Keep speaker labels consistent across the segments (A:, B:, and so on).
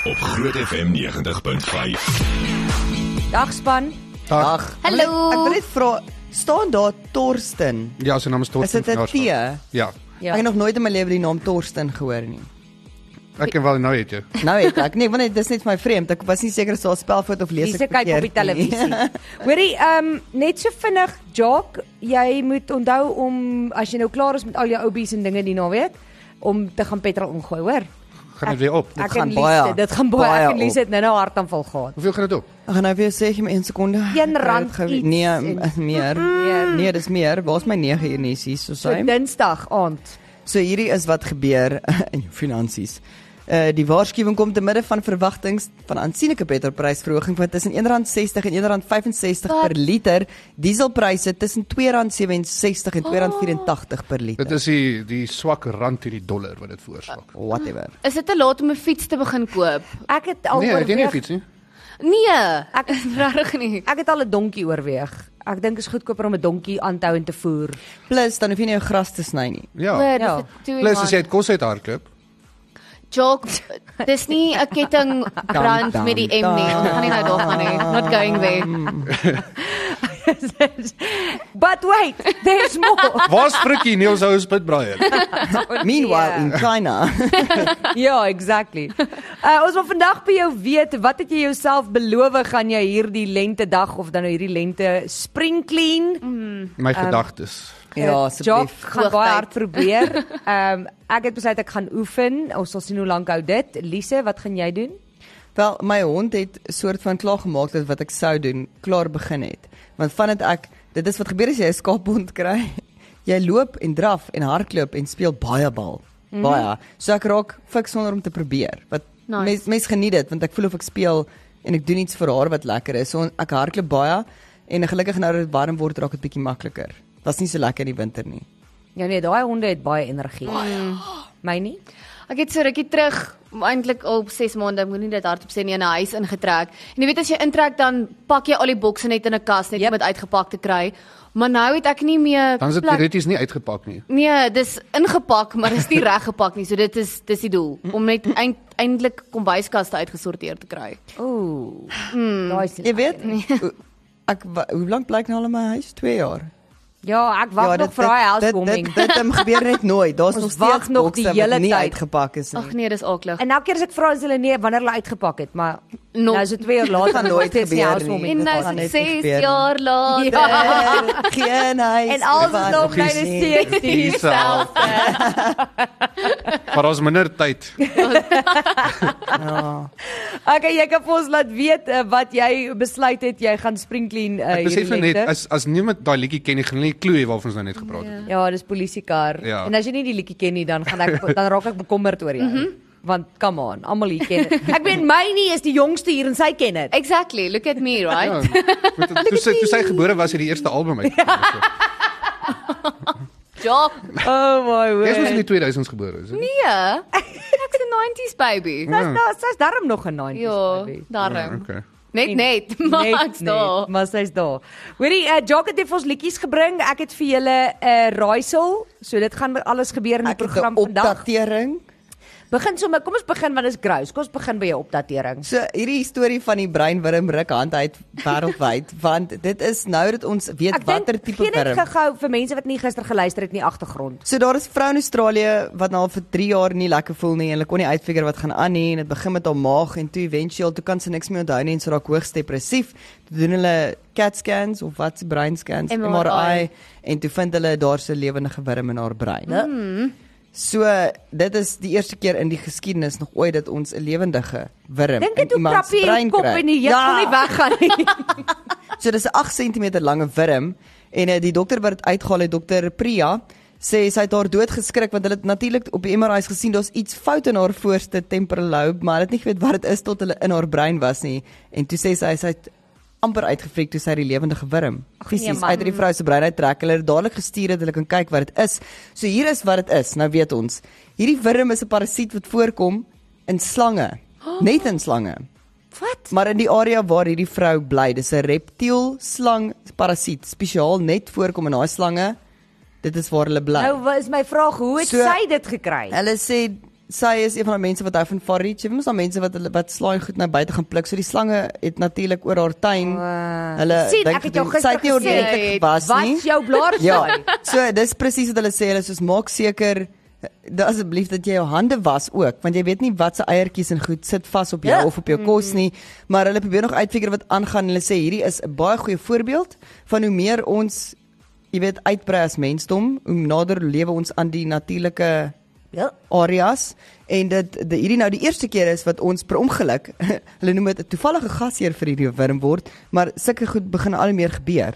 A: Groot FM 90.5.
B: Dagspan.
C: Dag.
B: Hallo.
D: Ek wil net- ek wil net vra, staan daar Torsten?
C: Ja, sy naam is
D: Is
C: Torsten.
D: dit 'n T?
C: Knaarsman. Ja.
D: Ek het nog nooit in my lewe die naam Torsten gehoor nie.
C: Ek en wel nou het jy.
D: Nou het ek, nee, want dit is net vir my vreemd. Ek was nie seker as daar 'n spelfout of lees
B: Dis ek
D: ek
B: kyk op die
D: verkeerd nie.
B: televisie. Hoorie, ehm um, net so vinnig, Jock, jy moet onthou om as jy nou klaar is met al jou oubies en dinge die naweek om te gaan petrol ingooi, hoor?
C: Gaan dit weer op?
B: Ek
D: gaan
B: en
D: baie-
B: Lies, dit gaan baie,
D: baie
B: ek en Lies
D: op.
B: het nou nou 'n hartaanval gehad.
C: Hoeveel gaan dit op?
D: Ek gaan nou vir jou sê gee my 1 sekonde.
B: Een rand
D: Ek het gewe-
B: iets
D: Nee,
B: en-
D: m- meer.
B: Meer.
D: Nee, dis meer. Waar's my 9 hier nie, sies, so
B: So
D: sê.
B: Dinsdag aand.
D: So hierdie is wat gebeur in jou finansies. Uh, die waarskuwing kom te midde van verwagtinge van aansienlike petrolprysverhoging van tussen R1.60 en R1.65 per liter, dieselpryse tussen R2.67 en R2.84 per
C: Dit
D: liter.
C: is die die swak rand teen die dollar wat dit veroorsaak.
D: Whatever.
E: Is dit te laat om 'n fiets te begin koop?
B: Ek het al
C: Nee, het jy nie
B: Oh, oorweeg.
C: fiets nie?
E: Nee, ek regtig nie.
B: Ek het al 'n donkie oorweeg. Ek dink is goedkoper om 'n donkie aan te hou en te voer.
D: Plus dan hoef jy nie jou gras te sny nie.
C: Ja.
B: Ja.
C: Plus as jy het kos uit hardloop.
E: Jock, dis nie 'n ketting brand met die M nie. Ons gaan nie nou daarvan nie. Not going there.
B: But wait, there's more.
C: Waar's Frikkie? Nee, ons hou ons bid Brian.
D: Meanwhile in China.
B: Ja, exactly. Uh ons wil vandag by jou weet, wat het jy jouself beloof gaan jy hierdie lente dag of dan nou hierdie lente spring clean?
C: My gedagtes.
D: ja,
B: Uh, Jock
D: asseblief.
B: Mm. gaan
E: Hoogtyd.
B: baie hard probeer. Ehm um, ek het besluit ek gaan oefen. Ons sal sien hoe lank hou dit. Lise, wat gaan jy doen?
D: Wel, my hond het soort van klaar gemaak dat wat ek sou doen klaar begin het. Want vandat ek dit is wat gebeur as jy 'n skaaphond kry. Jy loop en draf en hardloop en speel baie bal. Baie. So ek raak fiks sonder om te probeer. Wat
E: Nice.
D: nice. mens mens geniet dit want ek voel of ek speel en ek doen iets vir haar wat lekker is. So ek hardloop baie en gelukkig nou dat dit warm word raak dit bietjie makliker. Was nie so lekker in die winter nie.
B: Ja nee, daai honde het baie energie. Mm. My nie.
E: Ek het so rukkie terug, eintlik al 6 maande, ek moenie dit hardop sê nie, in 'n huis ingetrek. En jy weet as jy intrek dan pak jy al die bokse net in 'n kas net
B: Yep.
E: om dit uitgepak te kry. Maar nou het ek nie meer
C: Dan is dit
E: plek-
C: teoreties nie uitgepak nie.
E: Nee, dis ingepak, maar dis nie reg gepak nie. So dit is dis die doel om net eind, eintlik kombuiskaste uitgesorteer te kry.
B: Ooh. Mm. Daai is
D: Jy weet, o- ek wa- hoe lank bly ek nou al in my huis? 2 jaar.
B: Ja, ek wag nog vir daai
D: Dit
B: housewarming.
D: dit, dit um, gebeur net nooit. Daar's
B: Ons
D: nog
B: wag
D: steeds
B: nog
D: bokse
B: die
D: wat
B: hele
D: nie
B: tyd.
D: uitgepak is
E: Ag
D: nie.
E: nee, dis aklig.
B: En elke keer as ek vra as hulle nee wanneer hulle uitgepak het, maar
E: Nog-
B: nou is dit 2 jaar later
D: Gaan
B: nog
D: nooit
B: steeds nie
D: gebeur nie.
B: housewarming.
D: En
E: En nou
D: gaan net
E: is dit
D: nie
E: 6
D: gebeur nie.
E: jaar later.
B: Ja.
D: Daar, Geen huis.
B: En alles is
D: wat
B: nog
D: nie.
B: bly steeds dieselfde.
C: Maar ons minder tyd.
B: Eh, Okay, jy kan vir ons laat weet uh, wat jy besluit het jy gaan spring clean uh,
C: Ek besef nou
B: hierdie
C: net
B: lente.
C: as as niemand daai liedjie ken nie, gaan hulle nie klou hê waarvan ons nou net gepraat het.
B: Ja, dis polisiekar.
C: Ja.
B: En as jy nie die liedjie ken nie, dan gaan ek dan raak ek bekommerd oor jou. Mm
C: Mhm.
B: -hmm. Want come on, almal hier ken dit. Ek weet my nie is die jongste hier en sy ken dit.
E: Exactly, look at me, right?
C: Ja. want Toe sy toe sy gebore was, het die eerste album
B: Ja.
C: uitgekom.
E: Job.
B: Oh my
C: Jy is mos in
B: word.
C: die 2000s gebore, is dit? nie?
E: Nee. Ek's 'n 90s baby.
C: Ja.
B: Dis nou, sy's darm nog 'n 90s
E: Ja,
B: baby.
E: daarom.
C: Okay.
E: Net net, maar ek's daar.
B: Maar sy's daar. Hoorie, uh, Jock het dit vir ons liedjies gebring. Ek het vir julle 'n uh, raaisel. So dit gaan alles gebeur in die
D: Ek het 'n
B: program vandag.
D: opdatering.
B: Begin sommer, kom ons begin want dit is gross. Kom ons begin by jou opdatering.
D: So hierdie storie van die breinwurm ruk hand uit wêreldwyd want dit is nou dat ons weet
B: Ek
D: watter
B: dink
D: tipe
B: gee net
D: wurm.
B: gou-gou vir mense wat nie gister geluister het nie agtergrond.
D: So daar is 'n vrou in Australië wat nou al vir 3 jaar nie lekker voel nie en hulle kon nie uitfigure wat gaan aan nie en dit begin met haar maag en toe eventueel toe kan sy niks meer onthou nie en sy raak hoogs depressief. Toe doen hulle CAT scans of wat se brein scans, MRI,
E: MRI.
D: MRI en toe vind hulle daar se lewendige wurm in haar brein. Mm.
B: Hmm.
D: So dit is die eerste keer in die geskiedenis nog ooit dat ons 'n lewendige wurm
B: Dink
D: in
B: dit hoe
D: iemand se
B: krappie jou
D: brein
B: kop
D: kry. Ja.
B: in die juk wil nie weggaan nie.
D: So dis 'n 8 cm lange wurm en eh, die dokter wat dit uitgehaal het, dokter Priya, sê sy het haar dood geskrik want hulle het natuurlik op die MRI's gesien daar's iets fout in haar voorste temporal lobe, maar hulle het nie geweet wat dit is tot hulle in haar brein was nie. En toe sê sy sy het amper uitgefrik toe sy die lewendige wurm fisies
B: man.
D: uit uit die vrou se brein uittrek. Hulle het dadelik gestuur dat hulle kan kyk wat dit is. So hier is wat dit is. Nou weet ons. Hierdie wurm is 'n parasiet wat voorkom in slange. Net in slange.
B: Wat?
D: Maar in die area waar hierdie vrou bly, dis 'n reptiel slang parasiet, spesiaal net voorkom in daai slange. Dit is waar hulle bly.
B: Nou wa- is my vraag, hoe het
D: So-
B: sy dit gekry?
D: Hulle sê sy is een van daai mense wat hou van far reach. Jy weet mos daai mense wat hulle wat slaai goed na buite gaan pluk. So die slange het natuurlik oor haar tuin.
B: Wow.
D: Hulle
B: Sien,
D: dink
B: ek het jou
D: gedoen, sy het nie
B: gister gesê,
D: ordentlik gewas nie.
B: Wat jou blaar
D: Ja.
B: saai?
D: So dis presies wat hulle sê, hulle soos maak seker eh, dat asseblief dat jy jou hande was ook, want jy weet nie wat se eiertjies en goed sit vas op jou
B: Ja.
D: of op jou kos nie, maar hulle probeer nog uitfigure wat aangaan. Hulle sê hierdie is 'n baie goeie voorbeeld van hoe meer ons jy weet uitbrei as mensdom, hoe nader lewe ons aan die natuurlike
B: Ja.
D: areas en dit die, hierdie nou die eerste keer is wat ons per ongeluk hulle noem dit 'n toevallige gasheer vir hierdie wurm word, maar sulke goed begin al hoe meer gebeur.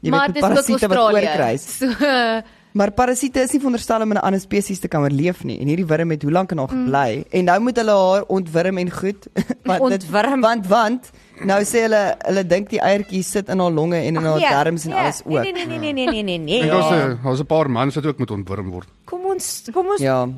D: Jy
E: maar
D: met
E: dit is ook
D: parasiete wat
E: Australië.
D: oorkruis.
E: So eh,
D: Maar parasiete is nie veronderstel om in 'n ander spesies te kan oorleef nie en hierdie wurm het hoe lank in
B: Mm.
D: haar gebly en nou moet hulle haar ontwurm en goed want dit-
B: Ontwurm.
D: want want nou sê hulle hulle dink die eiertjies sit in haar longe en in haar
B: Nee,
D: darmes en
B: nee,
D: alles ook.
B: Nee nee nee nee nee nee nee. nee.
C: Ek was eh, daar's 'n paar mans wat ook moet ontwurm word.
B: Kom ons kom ons
D: Ja.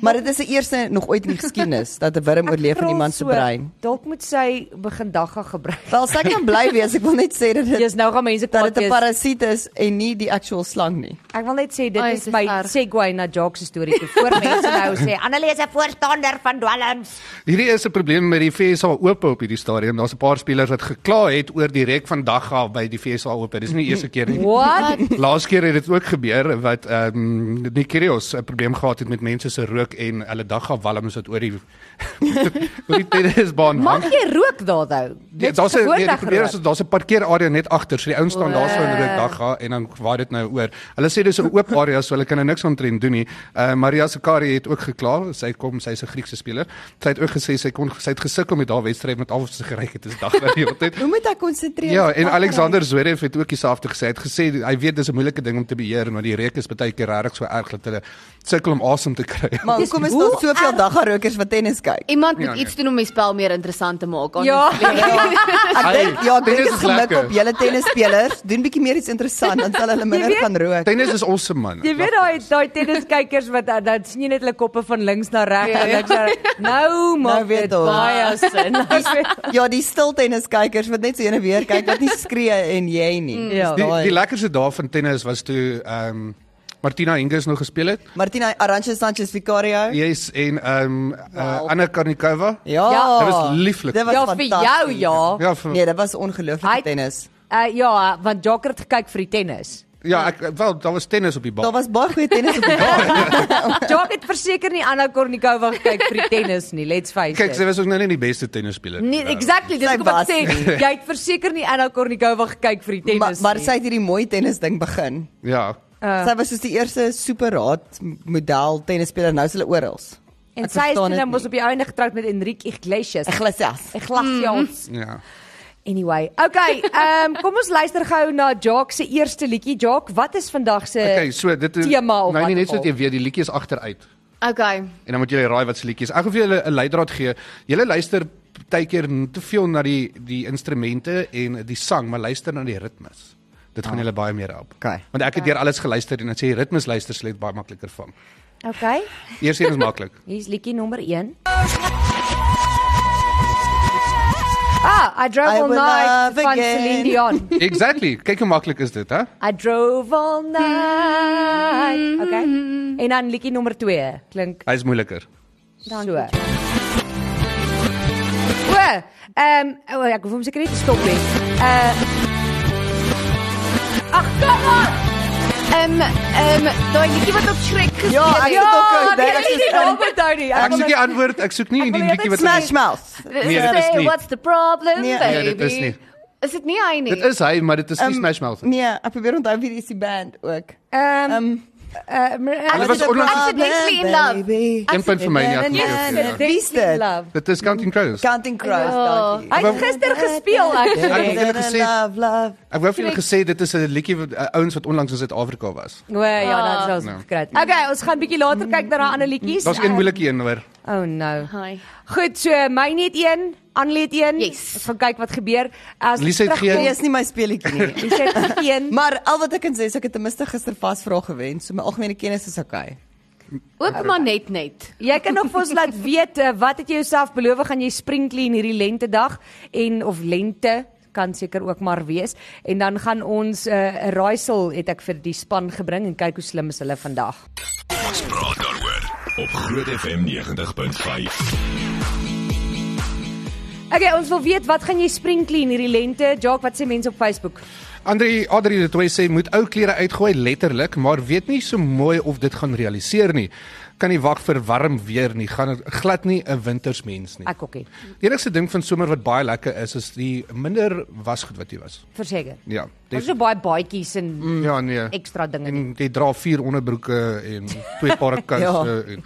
D: Maar dit is die eerste nog ooit in die geskiedenis dat 'n wurm
B: ek
D: oorleef in
B: krol
D: iemand se
B: so,
D: brein.
B: Dalk moet sy begin dagga gebruik.
D: Wel, sy kan bly wees. Ek wil net sê dat dit
B: Jy's nou gaan mense
D: dat
B: kwaad
D: dit 'n
B: wees.
D: parasiet is en nie die actual slang nie.
B: Ek wil net sê dit
E: Ai,
B: is
E: dis
B: my
E: erg.
B: segue na Jock se storie toe voor mense nou sê Annelies is 'n voorstander van dwelms.
C: Hierdie is 'n probleem met die FSA Ope op hierdie stadium. Daar's 'n paar spelers wat gekla het oor direk vandag af by die FSA Ope. Dis nie die eerste keer nie.
D: Ja,
B: What?
D: nee.
C: Laas keer het dit ook gebeur wat ehm um, Nikirios 'n probleem gehad het met mense se rook en hulle daggawalms wat oor die oor die tennisbaan
B: Mag
C: hang.
B: jy rook daar nou?
C: Ja, daar's 'n nee, die probleem is daar's 'n parkeerarea net agter. So die ouens staan daar so en rook dagga en dan waai dit nou oor. Hulle sê dis 'n oop area so hulle kan nou niks omtrent doen nie. Uh Maria Sakari het ook gekla. Sy kom, sy's 'n Griekse speler. Sy het ook gesê sy kon sy het gesukkel met haar wedstryd met al wat sy gereik het is dagga die hele tyd.
D: Hoe moet ek konsentreer?
C: Ja, en Alexander Zverev het ook dieselfde gesê. Hy het gesê hy weet dis 'n moeilike ding om te beheer, maar die reuk is baie keer regtig so erg dat hulle sukkel om asem te kry.
D: Maar hoekom is daar soveel daggarokers wat tennis kyk?
E: iemand moet
C: Ja, nee.
E: iets doen om die spel meer interessant te maak.
B: Ja.
D: Ek dink ja, ek dink
C: tennis
D: dit
C: is
D: is gemik
C: lekker.
D: op julle tennisspelers. Doen bietjie meer iets interessant dan sal hulle minder
B: weet-
D: gaan rook.
C: Tennis is awesome man.
B: Jy weet daai daai tenniskykers wat dan- dan sien jy net hulle koppe van links na reg en ek sê nou maak
D: weet
B: dit
D: ons.
B: baie sin. Ek weet-
D: Ja, die stil tenniskykers wat net so heen en weer kyk wat nie skree en jy nie.
B: Ja.
D: Dis
C: Die, die
D: daai-
C: lekkerste dag van tennis was toe ehm um, Martina Hingis nog gespeel het.
D: Martina Arantxa Sanchez Vicario.
C: Yes en ehm um, uh, Anna Karnikova.
D: Ja.
B: Ja.
C: Dit was lieflik.
D: Dit was
B: Ja vir jou
D: fantasties.
B: ja.
C: Ja, vir,
D: Nee, dit was
B: Hy-
D: ongelooflike tennis.
B: Uh, ja, want Jock het gekyk vir die tennis.
C: ja, ek wel daar was tennis op die
D: Daar
C: bal.
D: was baie goeie tennis op die baan.
B: Jock het verseker nie Anna Kornikova gekyk vir die tennis nie, let's face
C: Kyk, sy
B: it.
C: was ook nou nie die beste tennisspeler
B: Nee,
C: Ja.
B: exactly, dis
D: Nou, Sy
B: hoekom ek
D: was
B: sê jy het verseker nie Anna Kornikova gekyk vir die
D: Maar,
B: tennis
D: maar
B: nie.
D: sy het hierdie mooi tennis ding begin.
C: Ja.
D: Uh. Sy was soos die eerste superraad model tennisspeler nou is hulle oral.
B: en sy is
D: Ek verstaan
B: toe
D: dit
B: nou
D: nie.
B: mos op die einde getroud met Enrique Iglesias.
D: Iglesias. Mm.
B: Iglesias.
C: Ja.
B: Anyway, okay, ehm um, kom ons luister gou na Jock se eerste liedjie. Jock, wat is vandag se
C: Okay, so dit is
B: tema of
C: nou nie
B: wat ook
C: net so
B: al.
C: dat jy weet die liedjie is agteruit.
E: Okay.
C: En dan moet julle raai wat se liedjie is. Ek gaan vir julle 'n leidraad gee. Julle luister baie keer te veel na die die instrumente en die sang, maar luister na die ritmes. Dit gaan julle baie meer help.
D: Okay.
C: Want ek het deur alles geluister en dan sê jy ritmes luister slet baie makliker vang.
B: Okay,
C: Eers een is maklik.
B: hier's liedjie nommer 1. Ah, I drove
D: I
B: all
D: will
B: night
D: love
B: van
D: again.
B: Celine Dion.
C: Exactly. Kyk hoe maklik is dit, hè?
B: I drove all night. Okay. En dan liedjie nommer 2 klink
C: Hy's moeiliker.
B: so. O, ehm um, oh, ek hoef hom seker net te stop nie. Uh Ag, kom aan.
E: Ehm ehm daai liedjie wat op Shrek gespeel
D: Ja, ek het ook
B: Ja,
D: gehoor,
B: nee,
D: dit
B: ek
D: is
B: is nie
D: van-
B: dom met jou nie.
C: Ek soek
B: wil-
C: die antwoord. Ek soek nie die
B: wil
C: liedjie
B: dit
C: wat
D: Smash Mouth.
C: Nee, dit is
E: Say,
C: nie.
E: What's the problem,
D: Nee.
E: baby?
D: Nee,
C: dit is nie.
E: Is dit nie hy nie?
C: Dit is hy, maar dit is nie
D: Ehm,
C: Smash Mouth nie.
D: Nee, ek probeer onthou wie is die band ook.
B: Ehm um,
D: Ehm
B: ehm
C: Hulle was
D: What's the
C: onlangs-
D: problem,
E: Accidentally in love.
D: baby?
C: Een punt vir my nie.
B: Ja,
C: ek
D: Yes.
B: uh,
C: gee jou.
D: Wie is dit?
C: Dit is Counting Crows.
D: Counting Crows,
E: Ja.
D: dankie.
B: Hy het gister gespeel
C: Ek
B: actually.
C: het julle gesê-
D: Love, love.
C: Ek wou vir julle gesê dit is 'n liedjie wat uh, ouens wat onlangs in Suid-Afrika was.
B: O ja, dit was
C: Nou.
B: ons gekry. Okay, ons gaan bietjie later kyk na daai ander liedjies.
C: Daar's een moeilike een hoor.
B: Oh no.
E: Hi.
B: Goed, so my net een, Annelie het een.
E: Yes.
B: Ons gaan kyk wat gebeur. As
C: Lise het geen-
D: Dit is nie my speletjie nie.
B: Lise het geen.
D: Maar al wat ek kan sê is ek het ten minste gister vasvra gewen, so my algemene kennis is okay.
E: Ook maar net net.
B: Jy kan nog vir ons laat weet eh, wat het jy jouself beloof gaan jy sprinkel in hierdie lentedag en of lente kan seker ook maar wees en dan gaan ons 'n uh, raaisel het ek vir die span gebring en kyk hoe slim is hulle vandag.
A: Ons praat daaroor op Groot FM 90.5.
B: Okay, ons wil weet wat gaan jy sprinkel in hierdie lente? Jock, wat sê mense op Facebook?
C: Andri Adri de Toey sê moet ou klere uitgooi letterlik, maar weet nie so mooi of dit gaan realiseer nie. Kan nie wag vir warm weer nie. Gaan glad nie 'n wintersmens nie.
B: Ek ook nie.
C: Die enigste ding van somer wat baie lekker is is die minder wasgoed wat jy was.
B: Verseker.
C: Ja.
B: Ons het so baie baadjies en
C: Ja nee.
B: ekstra dinge.
C: En jy dra vier onderbroeke en twee pare kouse en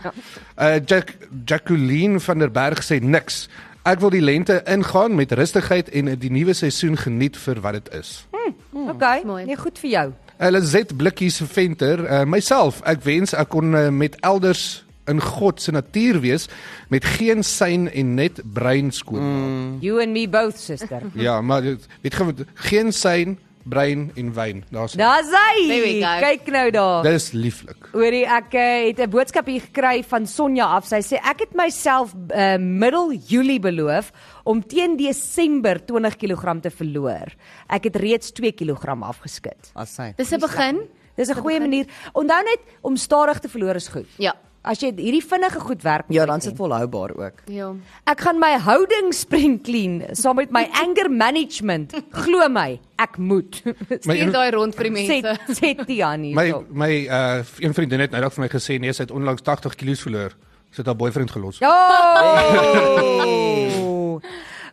C: uh Jack Jacqueline van der Berg sê niks. Ek wil die lente ingaan met rustigheid en die nuwe seisoen geniet vir wat dit is.
B: Okay,
E: Mooi.
B: nee, goed vir jou.
C: Hulle zet blikkies vir venter. Uh, myself, ek wens ek kon uh, met elders in God se natuur wees met geen syn en net brein skoon. Mm.
B: You and me both, suster.
C: Ja, maar dit- weet jy wat, geen syn, brein en wyn. Daar's
B: Daar's
E: There
B: hy.
E: we go.
B: Kyk nou daar.
C: Dis lieflik.
B: Hoorie, ek eh, het 'n boodskap hier gekry van Sonja af. Sy sê ek het myself uh, middel Julie beloof om teen Desember 20 kg te verloor. Ek het reeds 2 kg afgeskit.
D: As hy.
E: Dis 'n begin.
B: Dis 'n goeie manier. Onthou net om stadig te verloor is goed.
E: Ja.
B: As jy hierdie vinnige goed werk, moet
D: Ja,
B: jy
D: dan
B: ken.
D: sit volhoubaar ook.
E: Ja.
B: Ek gaan my houding spring clean saam met my anger management. Glo my, ek moet.
C: My
E: Sien
C: een,
E: daai rond vir die
B: Sê
E: mense.
B: sê Tiani.
C: my my uh, een vriendin het nou net vir my gesê nee, sy het onlangs 80 kg verloor. Sy het haar boyfriend gelos. Ja.
B: Oh!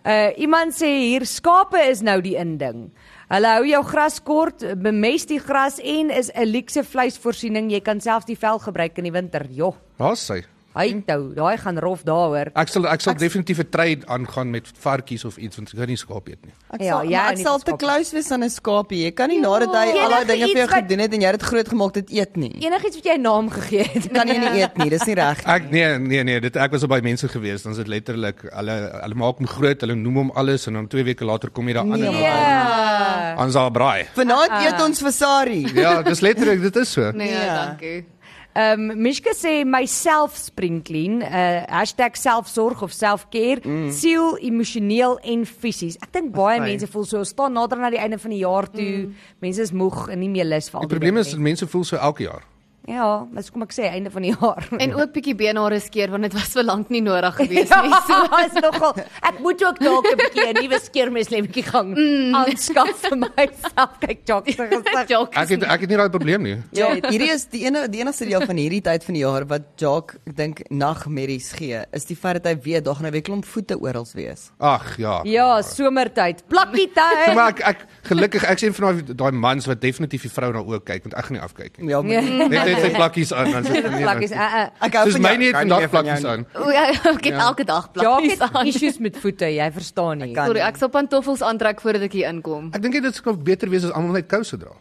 B: Uh iemand sê hier skape is nou die inding. Hulle hou jou gras kort, bemest die gras en is 'n luukse vleisvoorsiening. Jy kan selfs die vel gebruik in die winter. Jo,
C: Daar's sy.
B: hy tou, daai gaan rof daaroor.
C: Ek sal ek sal definitief 'n trade aangaan met varkies of iets want ek kan nie skaap eet nie.
D: Ek
B: Ja, jy
D: sal, ja,
B: hou
D: ek
B: nie
D: sal
B: van
D: te
B: skape.
D: kluis wees aan 'n skaapie. Jy kan nie nadat hy al daai
B: enige
D: dinge vir jou
B: iets wat- Ja.
D: gedoen het en jy het dit groot gemaak dit eet nie.
B: Enigiets wat jy 'n naam gegee het.
D: Kan jy nie eet nie, dis nie reg.
C: Ek nee nee nee, dit ek was by mense gewees, dan is dit letterlik hulle hulle maak hom groot, hulle noem hom alles en dan 2 weke later kom jy daar aan en dan
B: Ja.
C: aan sa braai.
D: Vanaand eet ons versari.
C: Ja, dis letterlik dit is so.
E: Nee, ja.
D: Ja.
E: dankie.
B: Ehm um, Mishka sê myself spring clean, uh #selfsorg of selfcare, mm. siel, emosioneel en fisies. Ek dink baie
D: fyn.
B: mense voel so, ons staan nader na die einde van die jaar toe. Mm. Mense is moeg en nie meer lus vir al
C: Die probleem
B: dinge
C: is
B: nie.
C: dat mense voel so elke jaar.
B: ja, dis kom ek sê einde van die jaar.
E: En ook bietjie benare skeer want dit was vir lank nie nodig gewees nie. So
B: Ja, is nogal. Ek moet ook dalk 'n bietjie 'n nuwe skeermeslemmetjie gaan mm. aanskaf vir myself. Kyk, Jock se gesig.
E: Joke is
C: Ek het ek het nie daai probleem nie.
D: Ja, hierdie is die ene die enigste deel van hierdie tyd van die jaar wat Jock, ek dink, nagmerries gee, is die feit dat hy weet daar gaan nou weer klomp voete oral wees.
C: Ag ja.
B: Ja, somertyd. Plakkie
C: So,
B: tyd.
C: Maar ek, ek gelukkig ek sien van daai daai mans wat definitief die vrou na oë kyk want ek gaan nie afkyk nie.
D: Ja, maar
C: Net net sy plakkies aan dan sit
B: Plakkies. Uh, uh.
D: ek hou
C: Dis
D: Ja, van
C: my
D: jou.
C: nie
D: Kan
C: vandag
D: meer van jou
C: plakkies
D: nie.
C: aan.
E: O ja, ek het elke dag
B: Jock
E: plakkies
B: het
E: aan.
B: issues met voete, jy verstaan nie.
D: Kan
E: Sorry,
D: nie.
E: ek sal pantoffels aantrek voordat ek hier inkom.
C: Ek dink dit sou beter wees as almal net kouse dra.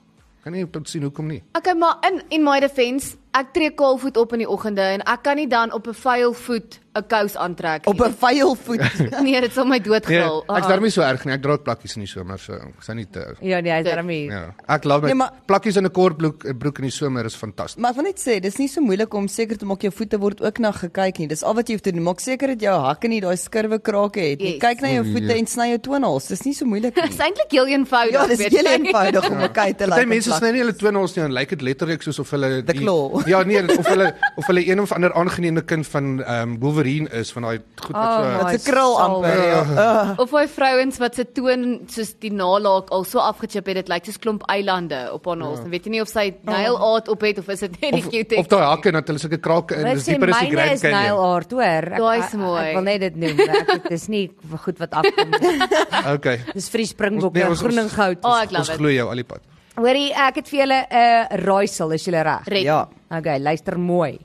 C: Kan nie tot sien hoekom nie.
E: Okay, maar in in my defense, ek tree kaalvoet op in die oggende en ek kan nie dan op 'n vuil voet 'n kous aantrek
D: op 'n vuil voet.
E: Nee, dit sal my Ah.
C: Nee,
E: doodgril.
C: ek's daarmee so erg nie. Ek dra ook plakkies in die somer so. Ek sien nie te
B: Ja nee, hy's
E: Dit-
B: daarmee. Ja.
C: Ja. Ek love my
D: Nee,
C: nee,
D: maar-
C: maar, plakkies in 'n kort broek, eh, broek in die somer is fantasties.
D: Maar ek wil net sê, dis nie so moeilik om seker te maak jou voete word ook na gekyk nie. Dis al wat jy hoef te doen. Maak seker dat jou hakke nie daai skurwe krake het nie.
E: Yes.
D: Kyk na jou
C: Mm, ja.
D: voete en sny jou toenails. Dis nie so moeilik nie.
E: Dit is eintlik heel eenvoudig,
D: Ja, dis
E: weet
D: heel
E: jy.
D: eenvoudig om 'n kyk te laat.
C: Party mense sny nie hulle toenails nie en lyk dit letterlik soos of hulle
D: The claw.
C: Ja nee, of hulle of hulle een of ander aangeneemde kind van ehm um, Wolverine is van daai goed wat
B: Oh
C: so
B: my
D: Wat 'n krul amper. ja.
E: Of hoe vrouens wat se toon soos die nalaak al so afgechip het, dit lyk soos klomp eilande op haar naels. Dan weet jy nie of sy nail art op het of is dit net die
C: Ja. of,
E: cute
C: of daai hakke en dat hulle sulke krake in,
B: Hulle
C: dis
B: sê
C: dieper as die
B: myne
C: Grand
B: is nou nail
C: Canyon.
B: art, hoor. Ek-
E: Daai is
B: ek-
E: mooi.
B: Ek wil net dit noem. Ek dit is nie goed wat afkom nie.
C: Okay.
B: Dis vir die springbokke
C: Nee,
B: en
C: ons-
B: groen en
C: ons-
B: goud.
E: Oh, ek
C: Ons
E: love it.
C: glo jou al die pad.
B: Hoorie, ek het vir julle 'n uh, raaisel, is julle reg?
E: Red.
D: Ja.
B: Okay, luister mooi.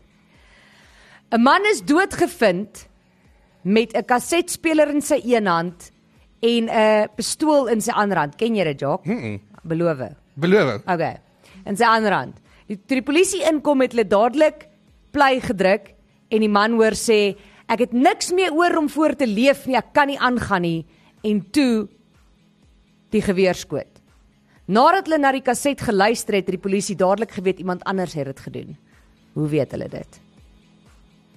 B: 'n Man is doodgevind met 'n kasetspeler in sy een hand en 'n pistool in sy ander hand. Ken jy dit, Jock? Mm -mm. Beloof.
C: Beloof.
B: Okay. En sy ander hand. Die, toe die polisie inkom het hulle dadelik plei gedruk en die man hoor sê ek het niks meer oor om voor te leef nie, ek kan nie aangaan nie en toe die geweer skoot. Nadat hulle na die kaset geluister het, het die polisie dadelik geweet iemand anders het dit gedoen. Hoe weet hulle dit?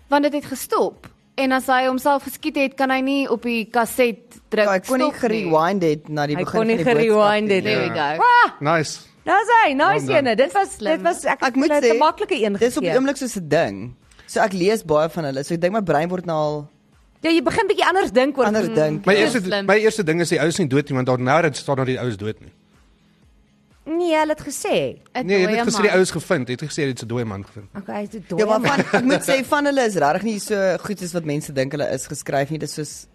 E: Want dit het gestop. En as hy homself geskiet het, kan hy nie op die kaset druk.
D: Ja, Ek kon nie
E: stop
D: gerewind het na die
B: Hy
D: begin
B: kon
D: van die
B: nie
D: boodskap
B: gerewind
D: nie.
B: het nie.
E: There we go.
C: Ja.
B: Ah,
C: Nice.
B: daar's hy, nice
C: Well done.
B: ene. Dit was dit was ek,
D: Ek moet
B: het
D: sê,
B: een maklike een
D: Dis op die
B: gegee.
D: oomblik soos 'n ding. So ek lees baie van hulle. So ek dink my brein word nou al
B: Ja, jy begin bietjie anders dink oor Mm.
D: anders dink.
C: My
E: Dis
C: eerste
E: slim.
C: my eerste ding is die ou is nie dood nie want daar nou dit staan dat die ou is dood nie.
B: Nee, hulle het gesê.
E: Het
C: Nee, jy
E: dooie
C: het gesê die
E: man.
C: ou is gevind. Jy het gesê dit is 'n dooie man gevind.
B: Okay, hy het
D: Ja, maar
B: dood.
D: van ek moet sê van hulle is regtig nie so goed soos wat mense dink hulle is geskryf nie. Dis soos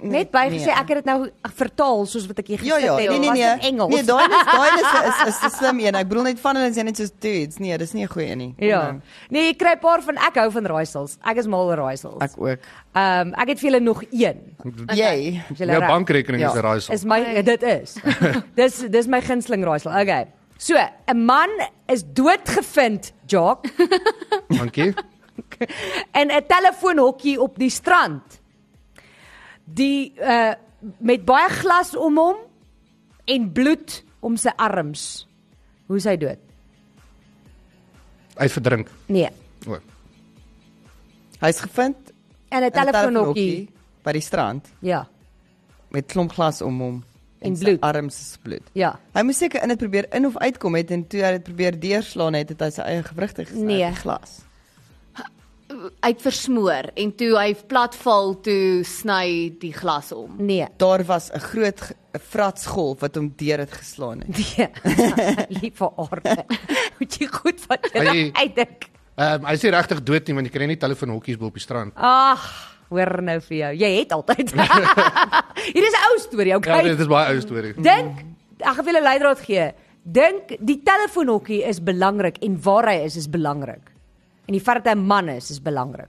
B: Net bygesê
D: nee.
B: ek het dit nou vertaal soos wat ek hier
D: Ja
B: gesit
D: ja,
B: het.
D: nee nee
B: Was
D: nee.
B: in Engels.
D: Nee, daai is daai is is- is 'n slim een. Ek bedoel net van hulle is net soos dudes. Nee, dis nie 'n goeie een nie. Kom
B: Ja.
D: nou.
B: Nee, ek kry 'n paar van ek hou van raaisels. Ek is mal oor raaisels.
D: Ek ook.
B: Ehm um, ek het vir julle nog een.
D: Jy.
B: As julle
C: Jou
B: reg-
C: bankrekening
D: Ja.
C: is 'n raaisel.
B: Is my
E: Hey.
B: dit is. dis dis my gunsteling raaisel. Okay. So, 'n man is doodgevind, Jock,
C: Dankie.
B: in 'n telefoonhokkie op die strand. Die uh met baie glas om hom en bloed om sy arms. Hoe is hy dood?
C: Uitverdrink.
B: Nee.
C: O.
D: Hy's gevind
B: In 'n
D: in 'n
B: telefoonhokkie.
D: telefoonhokkie by die strand
B: Ja.
D: met klomp glas om hom
B: En
D: sy
B: bloed.
D: Arms is bloed.
B: Ja.
D: Hy moes seker in dit probeer in of uitkom het en toe hy dit probeer deurslaan het, het hy sy eie gewrigte gesny
E: Nee.
D: in die glas.
E: uit versmoor en toe hy platval toe sny die glas om.
B: Nee.
D: Daar was 'n groot ge- 'n fratsgolf wat hom deur dit geslaan het.
B: Nee. Lief vir aarde. Moet jy goed wat jy
C: Hy-
B: uitdink.
C: Ehm hy is nie regtig dood nie want jy kry nie telefoonhokkies bo op die strand.
B: Ag, hoor nou vir jou. Jy het altyd. Hier is 'n ou storie,
C: Ja,
B: okay?
C: dit is baie ou storie.
B: Dink, ek gaan vir julle leidraad gee. Dink die telefoonhokkie is belangrik en waar hy is is belangrik. En die feit dat hy 'n man is is belangrik.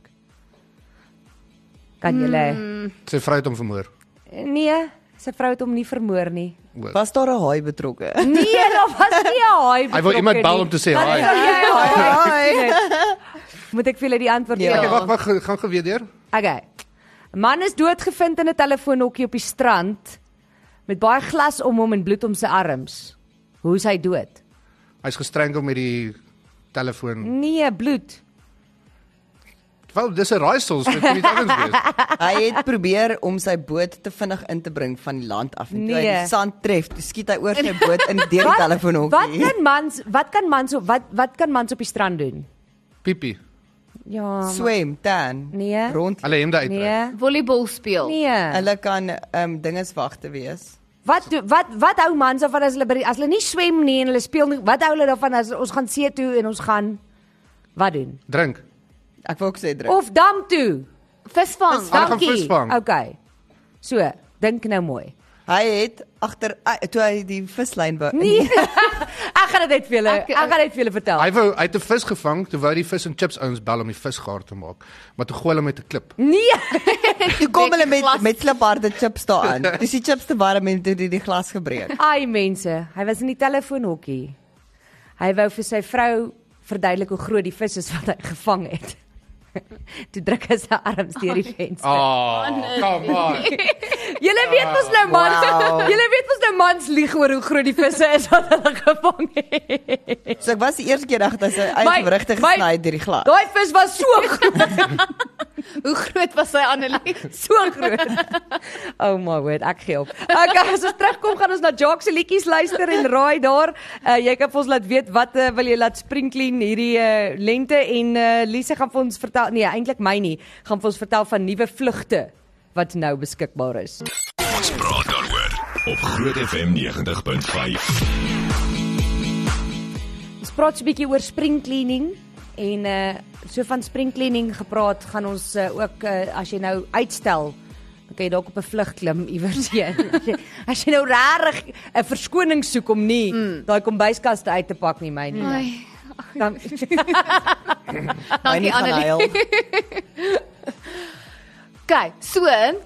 B: Kan julle mm.
C: Sy vrou het hom vermoor.
B: Nee, sy vrou het hom nie vermoor nie.
D: Was daar 'n haai betrokke?
B: Nee, daar was nie 'n haai.
C: Hy wou iemand
B: betrokke
C: bel
B: nie.
C: om te sê
B: Dan sal
C: hi.
D: Ja.
B: jy 'n haai
D: Haai.
B: gesien het. Moet ek vir julle die antwoord
D: Ja.
B: gee?
C: Okay, wag, wag, ge- gaan geweet deur.
B: Okay. 'n Man is doodgevind in 'n telefoonhokkie op die strand met baie glas om hom en bloed om sy arms. Hoe is hy dood?
C: Hy's gestrangel met die telefoon.
B: Nee, bloed.
C: Wel, dis 'n raaisel, so dit kan nie anders wees.
B: Nee.
D: Hy het probeer om sy boot te vinnig in te bring van die land af en toe hy
B: Nee.
D: die sand tref, toe skiet hy oor sy boot in deur die
B: wat
D: telefoonhokkie.
B: kan mans wat kan mans op wat wat kan mans op die strand doen?
C: Piepie.
B: Ja. maar-
D: Swem, dan.
B: Nee.
D: Rond.
C: Alle hemde uittrek.
B: Nee.
E: Volleybal speel.
B: Nee.
D: Hulle kan ehm um, dinges wagte wees.
B: Wat doen- wat wat hou mans daarvan as hulle by die, as hulle nie swem nie en hulle speel nie, wat hou hulle daarvan as ons gaan see toe en ons gaan wat doen?
C: Drink.
D: Ek wou ook sê druk.
B: Of dam toe.
E: Visvang.
C: Hulle gaan
B: Dankie.
C: vis vang.
B: Okay. So, dink nou mooi.
D: Hy het agter uh, toe hy die vislyn wou.
B: Nee. ek gaan dit net vir julle.
E: Ek-
B: Ek gaan dit vir julle vertel.
C: Hy wou uit 'n vis gevang, toe wou die vis en chips ouens bel om die vis gaar te maak, maar toe gooi hulle met 'n klip.
B: Nee.
D: Toe kom hulle met
E: Glas.
D: met slipharde chips daaraan. Dis die chips te warm en toe die, die glas gebreek.
B: Ai mense, hy was in die telefoonhokkie. Hy wou vir sy vrou verduidelik hoe groot die vis is wat hy gevang het. Toe druk hy sy arms deur die venster.
C: Ah, come on. Ah,
B: Julle weet mos nou mans,
D: Wow.
B: julle weet mos nou mans lieg oor hoe groot die visse is wat hulle gevang het.
D: So ek was die eerste keer agter sy eie
B: My-
D: gewrigte
B: my-
D: gesny deur die glas.
B: Daai vis was so groot,
E: Hoe groot was sy Annelie?
B: so groot. Oh my word, ek gee op. Okay, as ons terugkom gaan ons na Jacques se liedjies luister en raai daar. Uh, jy kan vir ons laat weet wat uh, wil jy laat sprinklien hierdie uh, lente en uh, Lise gaan vir ons vertel nee, eintlik my nie, gaan vir ons vertel van nuwe vlugte wat nou beskikbaar is.
A: Ons praat daaroor op Groot FM 90.5.
B: Ons praat so 'n bietjie oor spring cleaning en uh so van spring cleaning gepraat gaan ons uh, ook uh, as jy nou uitstel dan kan jy dalk op 'n vlug klim iewers heen. As jy- As jy nou regtig 'n verskoning soek om nie mm. daai kombuiskaste uit te pak nie, my nie.
E: Ai,
B: Dan
E: Dankie Annelie.
D: Annelie.
E: Kyk, so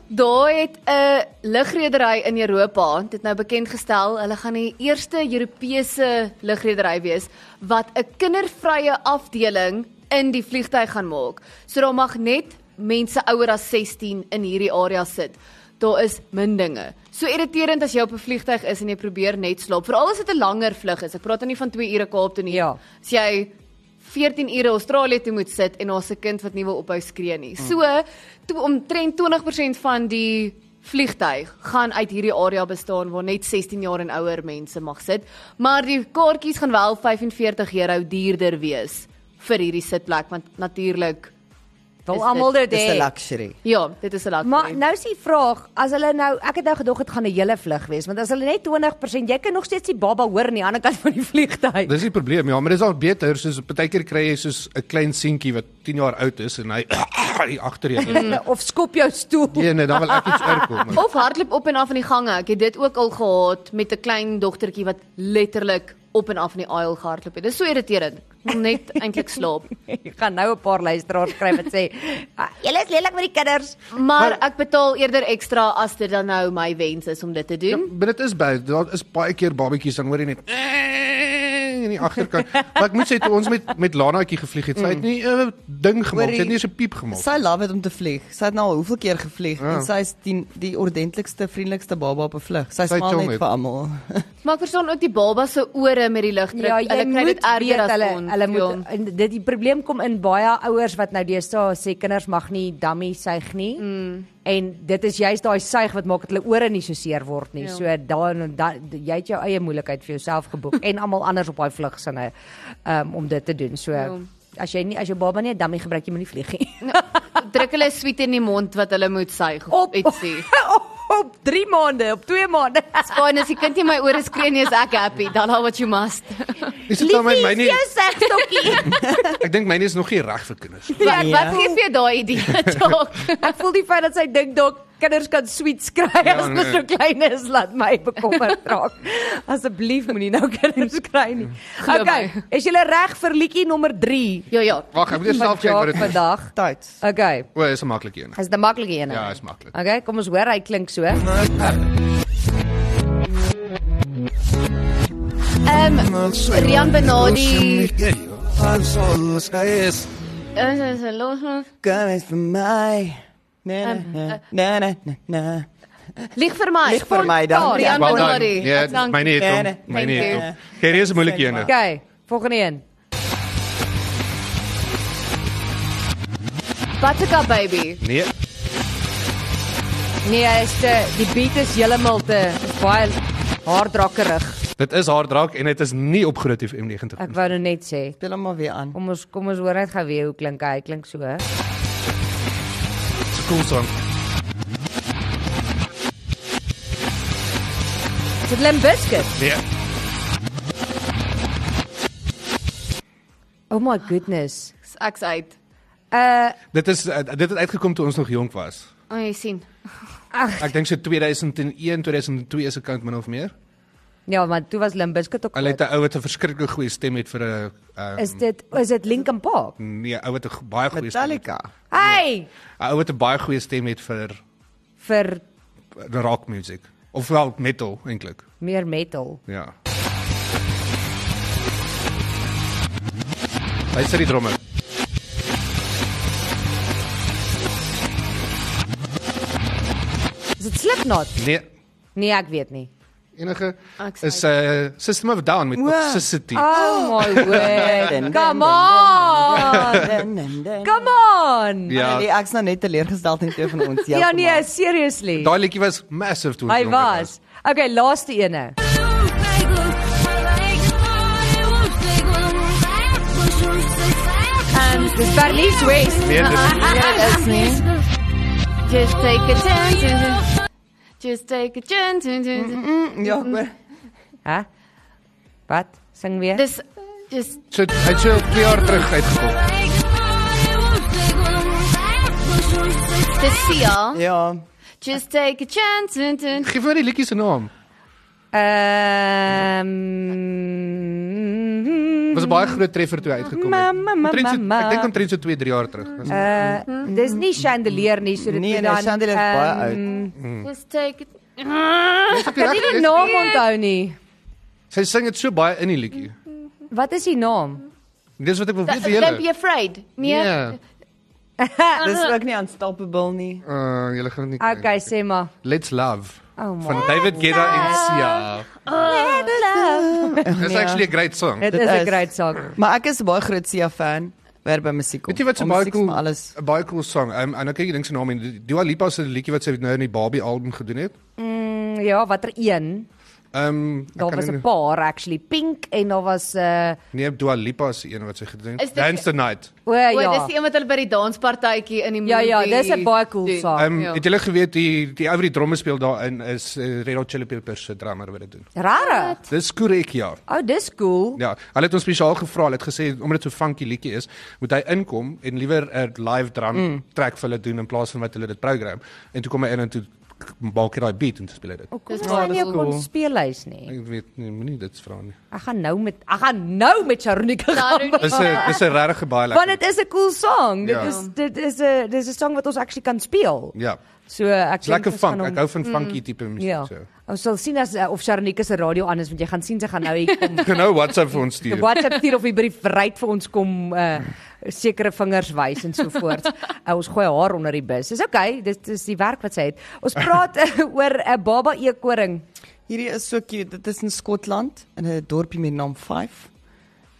E: daai het 'n lugredery in Europa dit nou bekend gestel. Hulle gaan die eerste Europese lugredery wees wat 'n kindervrye afdeling in die vliegtyg gaan maak. So daar mag net mense ouer as 16 in hierdie area sit. Daar is min dinge. So irriterend as jy op 'n vliegtyg is en jy probeer net slaap. Veral as dit 'n langer vlug is. Ek praat nou nie van 2 ure Kaap toe nie.
B: Ja.
E: As jy 14 ure Australië toe moet sit en daar's 'n kind wat nie wil ophou skree nie. So, toe omtrent 20% van die vliegtyg gaan uit hierdie area bestaan waar net 16 jaar en ouer mense mag sit, maar die kaartjies gaan wel 45 euro duurder wees vir hierdie sitplek want natuurlik
B: Wil
E: Dis-
B: almal dit
D: Dis 'n
B: hê.
D: luxury.
E: ja, dit is 'n laat.
B: Maar nou is die vraag, as hulle nou, ek het nou gedog dit gaan 'n hele vlug wees, want as hulle net 20%, jy kan nog steeds die baba hoor aan die ander kant van die vliegtuig.
C: Dis die probleem ja, maar dis al beter soos partykeer kry jy soos 'n klein seentjie wat 10 jaar oud is en hy hier agter jou.
B: of skop jou stoel.
C: Nee nee, dan wil ek iets oorkom.
E: Of hardloop op en af in die gange. Ek het dit ook al gehad met 'n klein dogtertjie wat letterlik op en af in die aisle gehardloop het. Dis so irriterend. Ek wil net eintlik slaap.
B: Ek gaan nou 'n paar luisteraars skryf wat sê, "Ah, "Julle is lelik met die kinders."
E: Maar ek betaal eerder ekstra as dit dan nou my wens is om dit te
C: Ja,
E: doen.
C: maar dit is baie daar is baie keer babatjies dan hoor jy net in die agterkant. Maar ek moet sê toe ons met met Lanaatjie gevlieg het, sy het nie 'n ding gemaak, sy het nie eens 'n piep gemaak.
D: Sy love dit om te vlieg. Sy het nou al hoeveel keer gevlieg ja. en sy is die die ordentlikste, vriendelikste baba op 'n vlug. Sy
C: Sy
D: smaal
C: tong
D: net
C: het.
D: vir almal.
E: Maar ek verstaan ook die baba se ore met die ligdruk.
B: Ja, jy
E: hulle kry
B: moet
E: dit erger
B: weet
E: as
B: hulle
E: ons.
B: hulle
E: ja.
B: moet en dit die probleem kom in baie ouers wat nou deesdae sê kinders mag nie dummy suig nie. Mm. En dit is juist daai suig wat maak dat hulle ore nie so seer word nie.
E: Ja.
B: Ja. So daar da, jy het jou eie moeilikheid vir jouself geboek en almal anders op daai vlug sinne um, om dit te doen. So ja.
E: Ja.
B: as jy nie as jou baba nie 'n dummy gebruik jy moet nie vlieg nie.
E: druk hulle sweet in die mond wat hulle moet suig
B: Op
E: of ietsie.
B: op 3 maande, op 2 maande.
E: Spain as die kind nie my ore skree nie, is ek happy. Dan al wat you must.
C: Is dit dan my
B: Liefie,
C: myne?
B: jy sê stokkie.
C: Ek dink myne is nog nie reg vir kinders.
E: Ja, ek
D: Ja.
E: wat gee vir jou daai idee, Jock?
B: Ek voel die feit dat sy dink dalk kinders kan sweets kry ja, as hulle
C: nee.
B: so klein is, laat my bekommerd raak. Asseblief moenie nou kinders kry nie.
E: Glo
B: Okay, is julle reg vir liedjie nommer 3?
E: Ja, ja.
C: Wag, ek moet eers self kyk wat dit is.
B: vandag.
D: Tyd.
B: Okay,
C: O, is 'n maklike een.
B: is dit 'n maklike een?
C: Ja, is Nee. maklik.
B: Okay, kom ons hoor, hy klink so.
E: Ehm Rian Benadi.
F: Yes.
E: Is is los.
D: Kom eens vir my. Nee
B: Ehm, eh,
D: nee nee nee nee. nee.
E: Lig vir my.
D: Lig vir my dan.
E: Spontaan, Rian
C: Wel dan,
E: Benadi.
C: Ja,
E: Dankie.
C: myne het
D: Nee,
C: hom.
D: nee,
C: Myne
E: thank
C: het
E: you.
C: hom. Hier nee. is 'n moeilike een.
B: Okay, volgende een.
E: Buttercup baby.
C: Nee.
B: Nee, hy is te die beat is heeltemal te is baie hardrakkerig.
C: Dit is haar draak en dit is nie op Groot FM 90.
B: Ek wou nou net sê.
D: Speel hom maar weer aan.
B: Kom ons kom ons hoor net gou weer hoe klink hy. Hy klink so.
C: Dis 'n cool song.
B: Is Dit Limp Bizkit.
C: Nee.
B: Oh my goodness.
E: Ek's uit.
B: Uh
C: Dit is eh, dit het uitgekom toe ons nog jonk was.
E: O, Oh, jy sien.
C: Ek dink so 2001, 2002 se kant min of meer.
B: ja, maar toe was Limbiskit ook.
C: Hulle het
B: groot.
C: 'n ou wat 'n verskriklik goeie stem het vir 'n ehm,
B: Is dit is dit Linkin Park?
C: nee, 'n ou wat 'n go- baie goeie stem het. 'n
D: Metallica.
B: Hey,
C: Ou wat 'n baie goeie stem het vir
B: vir
C: eh, rock music of wel metal eintlik.
B: meer metal.
C: Ja. Hy sit die dromme.
B: Is dit Slipknot?
C: Nee,
B: Nee, ek weet nie.
C: enige
B: Ah,
E: Ek sê-
C: is 'n uh, System of a Down met
D: Wow.
C: toxicity.
B: Oh my word.
D: Dun, dun, dun,
B: Come on.
D: Ah, nee, Kom.
B: Come on.
C: Ja.
D: Nee, ek's nou net teleurgesteld in twee van ons.
B: Ja nee, seriously.
C: Daai liedjie was massive toe ons
B: Hy
C: jonger
B: was. Okay, laaste ene. Um, dis Berlies West.
C: Nee, dit,
E: Is nie. Just take a chance. Just take a
C: Mm-hmm.
E: chance.
D: Ja, hoor.
B: Hæ? Wat? Sing weer.
E: Dis just
C: so, hy het so 2 jaar terug uitgekom.
E: dis Sia.
D: Ja.
E: Just take a chance.
C: Geef my die liedjie se naam.
B: Ehm
C: Was 'n baie groot treffer toe hy uitgekom het.
B: Ma, ma, ma,
C: Omtrent so,
B: ma, ma.
C: ek dink omtrent so 2, 3 jaar terug. Dis-
B: Uh, dis nie chandelier nie, so dit
D: Nee,
B: moet
D: nee,
B: dan ehm,
D: chandelier is baie oud.
C: Mm-hmm.
E: Just take it.
C: Ek
B: Kan jy die naam onthou nie?
C: Sy sing dit so baie in die liedjie.
B: Wat is die naam?
C: Dis wat ek wil weet vir
E: Don't be
C: julle.
E: afraid. Nee.
C: Ja.
B: Ah,
D: Dis ook nie unstoppable nie.
C: Uh, julle gaan dit nie. ken.
B: Okay, sê maar.
C: Let's Love
B: Oh my.
C: van David Guetta en Sia. It's
D: Ja.
C: actually a great song.
B: Dit
D: Dit
B: is 'n
D: is-
B: great song.
D: Maar ek is 'n baie groot Sia fan weer by musiek. kom.
C: Weet jy wat so
D: Om
C: baie
D: musiek
C: cool
D: maar alles.
C: 'n baie cool song. Um, en ek kyk die ding se naam en Dua Lipa se liedjie wat sy nou in die Barbie album gedoen het.
B: Mm, ja, watter een?
C: Ehm um,
B: Daar was 'n paar actually pink en daar was 'n uh,
C: Nee, Dua Lipa se een wat sy gedoen
E: Is
C: het.
E: dit-
C: Dance the Night.
B: o
E: O,
B: ja.
E: dis die een wat hulle by die danspartytjie in die
B: Ja ja,
E: movie
B: dis 'n baie cool
E: doen.
B: saak.
C: Ehm um,
E: ja.
C: het julle geweet die die ou wat die dromme speel daarin is uh, Red Hot Chili Peppers se drummer wat dit doen.
B: Rarig.
C: Dis korrek ja.
B: O, oh, dis cool.
C: Ja, hulle het ons spesiaal gevra, hulle het gesê omdat dit so funky liedjie is, moet hy inkom en liewer 'n live drum mm. track vir hulle doen in plaas van wat hulle dit program. En toe kom hy in en toe k- maak hy daai beat en toe speel hy dit.
B: Oh, Kom
E: Dis
B: ons
E: waar,
B: gaan
E: dis
B: jou
E: cool.
B: kon speellys nie.
C: Ek weet nie, moenie dit vra nie.
B: Ek gaan nou met ek gaan nou met Sharonika gaan.
E: Ja, Sharonika.
C: Dis
B: Ah.
C: 'n dis 'n regtig baie
B: Want
C: lekker.
B: dit is 'n cool song. Dit
C: Ja.
B: is dit is 'n dis 'n song wat ons actually kan speel.
C: Ja.
B: So ek
C: Dis lekker
B: dink ons gaan
C: funk.
B: hom-
C: Ek hou van funky tipe musiek
B: Ja.
C: yeah. so.
B: Ons sal sien as uh, of Sharonika se radio aan is want jy gaan sien sy gaan nou hier kom.
C: Kan nou WhatsApp vir ons
B: Die
C: stuur.
B: WhatsApp stuur of die brief ryk vir ons kom uh sekere vingers wys en so voort. Uh, ons gooi haar onder die bus. Dis okay, dit is die werk wat sy het. Ons praat uh, oor 'n uh, baba eekoring.
D: Hierdie is so cute. Dit is in Skotland in 'n dorpie met die naam Fife.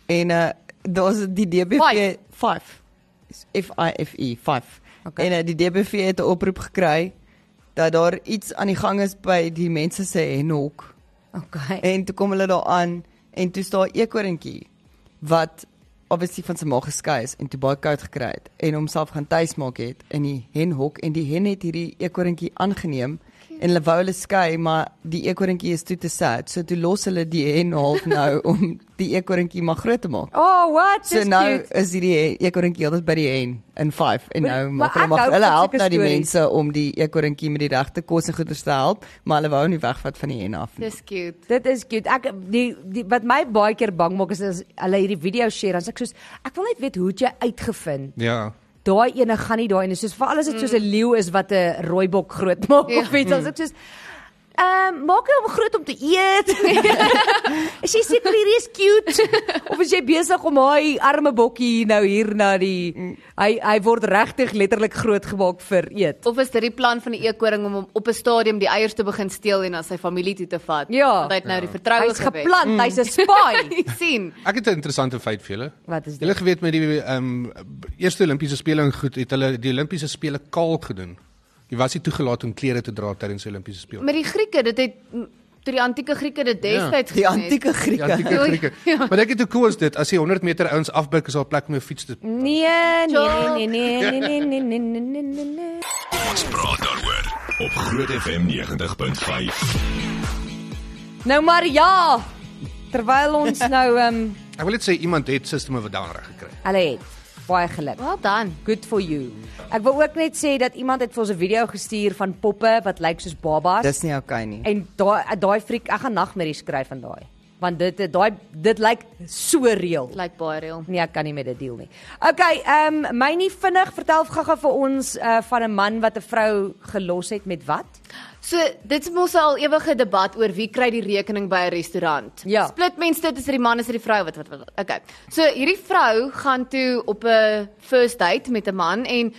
D: En uh daar's die DBV
E: Fife.
D: Fife. Is F I F E Fife.
B: Okay.
D: Okay. En uh, die DBV het 'n oproep gekry dat daar iets aan die gang is by die mense se henhok.
B: Okay.
D: En toe kom hulle daar aan en toe staan 'n eekorntjie wat obviously van sy ma geskei is en toe baie koud gekry het en homself gaan tuismaak het in die henhok en die hen het hierdie eekorntjie aangeneem en hulle wou hulle skei maar die eekorntjie is toe te sad so toe los hulle die hen half nou om die eekorntjie maar groot te maak.
B: Oh, what?
D: So
B: Dis
D: nou
B: cute.
D: is hierdie eekorntjie altyd by die hen in 5 en
B: Maar-
D: nou
B: maar ek hou
D: maak hulle maar
B: van
D: hulle help
B: sulke
D: nou die
B: stories.
D: mense om die eekorntjie met die regte kos en goeder te help maar hulle wou nie wegvat van die hen af nie.
E: Dis cute.
B: Dit is cute. Ek die, die wat my baie keer bang maak is as hulle hierdie video share, dan sê ek soos ek wil net weet hoe het jy uitgevind
C: Ja.
B: daai ene gaan nie daai ene soos veral as dit soos 'n leeu is wat 'n rooibok groot maak
E: Ja.
B: of iets dan sê ek soos Ehm um, maak hom groot om te eet. is jy seker hierdie is cute of is jy besig om hy arme bokkie nou hier na die hy hy word regtig letterlik groot gemaak vir eet.
E: Of is dit die plan van die eekoring om hom op 'n stadium die eiers te begin steel en na sy familie toe te vat?
B: Ja.
E: Want hy het nou die vertroue
B: Hy's
E: gewek.
B: geplant, hy's 'n spy.
E: Jy sien.
C: Ek het 'n interessante feit vir julle.
B: Wat is dit?
C: Julle geweet met die ehm eerste Olimpiese spele en goed het hulle die Olimpiese spele kaal gedoen. Jy was nie toegelaat om klere te dra tydens die Olimpiese spele.
E: Met die Grieke, dit het toe die antieke Grieke dit destyds
D: Die
E: gedoen het.
D: antieke Grieke.
C: Ja, antieke
E: Ja.
C: Grieke. Maar ek het hoe cool is dit as jy 100 meter ouens afbuig is daar plek om jou fiets te
B: Nee, nee, nee, nee, nee, nee, nee, nee, nee, nee, nee, nee.
A: Ons praat daaroor op Groot FM 90.5.
B: Nou maar ja. Terwyl ons nou ehm um,
C: Ek wil net sê iemand het sisteme wat daar reg gekry.
B: hulle het baie geluk.
E: Wel dan.
B: Good for you. Ek wil ook net sê dat iemand het vir ons 'n video gestuur van poppe wat lyk soos babas.
D: Dis nie okay nie.
B: En daai daai friek, ek gaan nagmerries skryf van daai. Want dit daai dit lyk so reël.
E: Lyk baie reël.
B: Nee, ek kan nie met dit deel nie. Okay, ehm um, my nie vinnig vertel gaga vir ons uh, van 'n man wat 'n vrou gelos het met wat?
E: So dit is mos al ewige debat oor wie kry die rekening by 'n restaurant.
B: Ja.
E: Split mense dit is dit die man is dit die vrou wat wat wat. Okay. So hierdie vrou gaan toe op 'n first date met 'n man en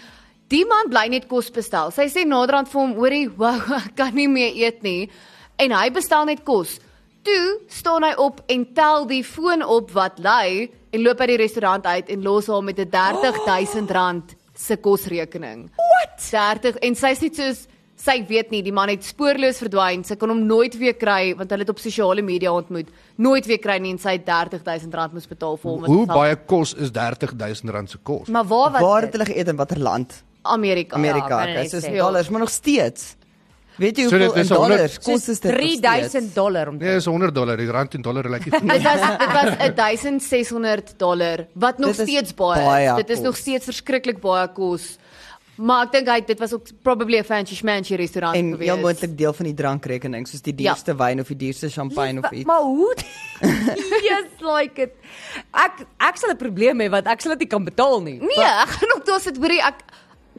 E: die man bly net kos bestel. Sy sê naderhand vir hom, "Hoorie, wow, ek kan nie meer eet nie." En hy bestel net kos. Toe staan hy op en tel die foon op wat lui en loop uit die restaurant uit en los haar met 'n 30000 rand se kosrekening. Wat? 30 en sy's net soos sy weet nie, die man het spoorloos verdwyn. Sy kon hom nooit weer kry want hulle het op sosiale media ontmoet. Nooit weer kry nie en sy het R30000 moes betaal vir hom. want
C: Hoe
E: sy-
C: baie kos is R30000 se kos?
B: Maar waar was
D: Waar
B: dit?
D: het hulle geëet en watter land?
E: Amerika.
D: Amerika,
B: kan jy
D: ja,
B: net
D: soos
B: sê.
D: dollars, maar nog steeds. Weet jy
C: So
D: hoeveel
C: dit is
D: in
C: 100
D: dollars
B: Soos
D: kos is dit? nog steeds?
B: 3000 dollar om te
C: Nee, is 100 dollar, die rand en dollar lyk nie.
E: Dit was dit was 1600 dollar wat nog
D: Dit is
E: steeds baie,
D: baie
E: is. Dit is nog
D: kos.
E: steeds verskriklik baie kos. Maar ek dink hy dit was ook probably 'n fancy schmancy restaurant
D: en
E: gewees.
D: heel moontlik deel van die drankrekening, soos die
E: Ja.
D: duurste wyn of die duurste champagne of
B: Wa-
D: iets.
B: Maar hoe? Yes, like it. Ek ek sal 'n probleem hê want ek sal dit nie kan betaal nie.
E: Nee, ek gaan ook daar sit hoorie ek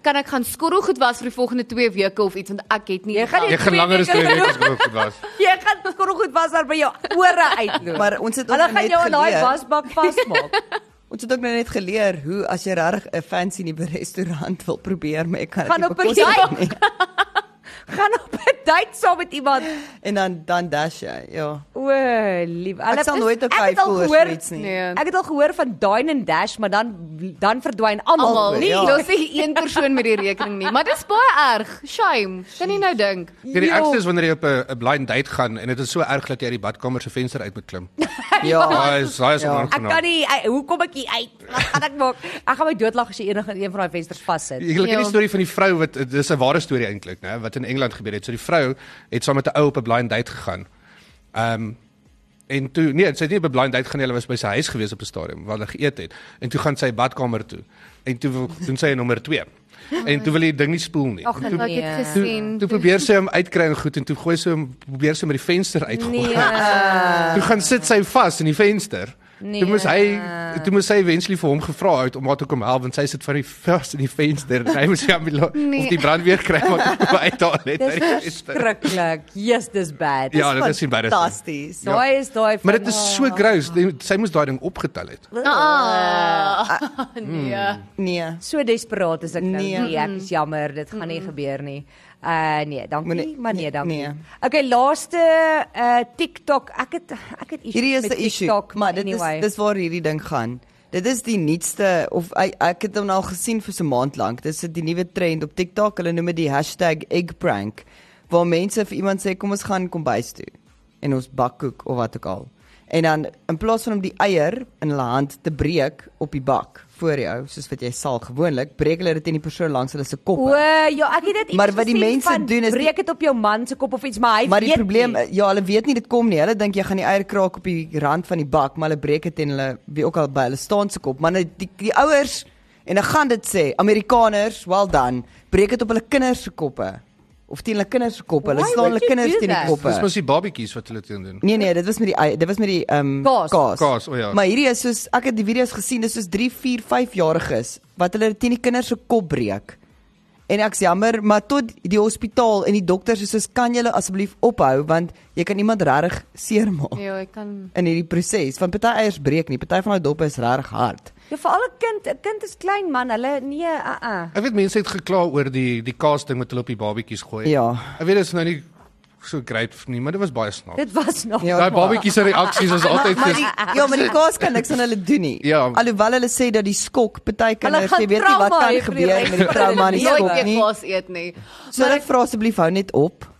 E: kan ek gaan skorrel goed was vir die volgende 2 weke of iets want ek het nie
B: Jy gaan nie-
C: Jy gaan langer as 2 weke as wat dit was.
B: Jy gaan skorrel goed was daar by jou ore uitloop.
D: Maar ons het ook
B: Nee. Hulle gaan
D: net
B: jou aan daai
D: geleer.
B: wasbak vasmaak.
D: Ons het ook nou net geleer hoe as jy reg 'n fancy nuwe restaurant wil probeer, maar ek kan
B: Gaan
D: dit nie
B: op 'n
D: bekostig
B: date.
D: nie.
B: gaan op 'n date saam met iemand.
D: En dan dan dash jy. Ja.
B: O, O, lief. Hulle
D: Ek sal
B: dis-
D: nooit
B: ek
D: okay
B: het al
D: voel oor
B: gehoor-
D: so iets nie.
E: Nee.
B: Ek het al gehoor van Dine and Dash, maar dan dan verdwyn almal.
E: Almal,
B: Nee,
E: ja.
D: ja.
E: daar's nie een persoon met die rekening nie, maar dit is baie erg. Shame. Kan jy nou dink?
C: Hierdie
B: joh.
C: ekste is wanneer jy op 'n 'n blind date gaan en dit is so erg dat jy uit die badkamer se venster uit moet klim.
D: Ja.
C: Daai is daai is
D: Ja.
B: Ek kan
C: onaangenaam.
B: nie ek, hoe kom ek hier uit? Wat gaan ek maak? Ek gaan my doodlag as jy enige een van daai vensters vassit.
C: Ek ken
E: Ja.
C: die storie van die vrou wat dis 'n ware storie eintlik, né, wat in Engeland gebeur het. So die vrou het saam met 'n ou op 'n blind date gegaan. Ehm um, en toe nee, sy het nie op 'n blind date gaan nie, hulle was by sy huis gewees op 'n stadium waar hulle geëet het. En toe gaan sy badkamer toe. En toe wil- doen sy 'n nommer 2. En toe wil hy die ding nie spoel nie.
B: Ja. Ag,
C: En toe,
E: nou Ek het
B: Nee.
C: toe,
E: gesien.
C: toe probeer sy hom uitkry en goed en toe gooi sy hom probeer sy met die venster uitgooi.
B: Nee.
C: Toe gaan sit sy vas in die venster. Nee. Toe moes hy toe moes hy eventually vir hom gevra het om haar te kom help want sy sit van die vas in die venster en hy moes sy ambulans nee. of die brandweer kry maar kom uit daar net uit die
B: Dis
C: venster.
B: verskriklik. Yes, dis bad.
C: Ja, dit is embarrassing.
D: Fantasties.
C: ja.
B: Daai is daai eh,
C: Maar dit is so
B: Oh.
C: gross. Die- Sy moes daai ding opgetel het.
E: Ah. Nee.
D: Nee.
B: so desperaat as ek nou. Nee,
D: Nee.
B: ek is jammer, dit gaan nie gebeur nie. Uh nee, dankie,
D: Moenie-
B: maar nee, dankie.
D: nee.
B: Okay, laaste uh TikTok. Ek het ek het issues
D: Hierdie is
B: met
D: 'n issue,
B: TikTok,
D: maar dit
B: anyway.
D: is dis waar hierdie ding gaan. Dit is die nuutste of ek, ek het hom nou al gesien vir so 'n maand lank. Dit is die nuwe trend op TikTok. Hulle noem dit die #eggprank waar mense vir iemand sê kom ons gaan kombuis toe en ons bak koek of wat ook al. En dan in plaas van om die eier in hulle hand te breek op die bak voor jou, soos wat jy sal gewoonlik, breek hulle dit in die persoon langs hulle se kop.
B: O, ja, ek het dit iets
D: Maar wat die
B: gesien
D: mense
B: van,
D: doen is-
B: breek dit op jou man se kop of iets, maar hy
D: Maar die
B: weet
D: probleem
B: nie.
D: ja, hulle weet nie dit kom nie. Hulle dink jy gaan die eier kraak op die rand van die bak, maar hulle breek dit en hulle wie ook al by hulle staan se kop. Maar nou die, die ouers en dan gaan dit sê, Amerikaners, well done, breek dit op hulle kinders se koppe of teen hulle kinders se koppe. Hulle
B: Why
D: slaan
B: would you
D: hulle kinders
B: do
D: teen die
B: that?
D: koppe.
C: Dis mos die babetjies wat hulle teen doen.
D: Nee nee, dit was met die ei- dit was met die ehm
B: Kaas.
D: kaas.
C: Kaas, o ja.
D: Maar hierdie is soos ek het die video's gesien, dis soos 3, 4, 5 jariges wat hulle teen die kinders se kop breek. En ek's jammer, maar tot die hospitaal en die dokters is soos kan julle asseblief ophou want jy kan iemand regtig seermaak
E: Ja, ek kan
D: in hierdie proses. Want party eiers breek nie, party van daai doppe is regtig hard.
B: Ja, veral 'n kind, 'n kind is klein man, hulle nee, uh uh.
C: Ek weet mense het gekla oor die die kaas ding wat hulle op die babetjies gooi.
D: Ja.
C: Ek weet dit is nou nie so great nie, maar dit was baie snaaks.
B: Dit was nog
D: Ja,
C: Daai babetjies se reaksies is altyd
D: maar
C: ges-
D: die, ja, maar die kaas kan niks aan hulle doen nie.
C: Ja.
D: Alhoewel hulle sê dat die skok party kinders,
B: gaan
D: jy weet nie wat
B: trauma
D: kan
B: hê vir die
D: gebeur
B: res
D: met die
B: van
D: trauma aan die
B: hulle
E: nooit
D: skok
E: weer
D: nie.
E: kos eet nie.
D: So hulle vra asseblief hou net op.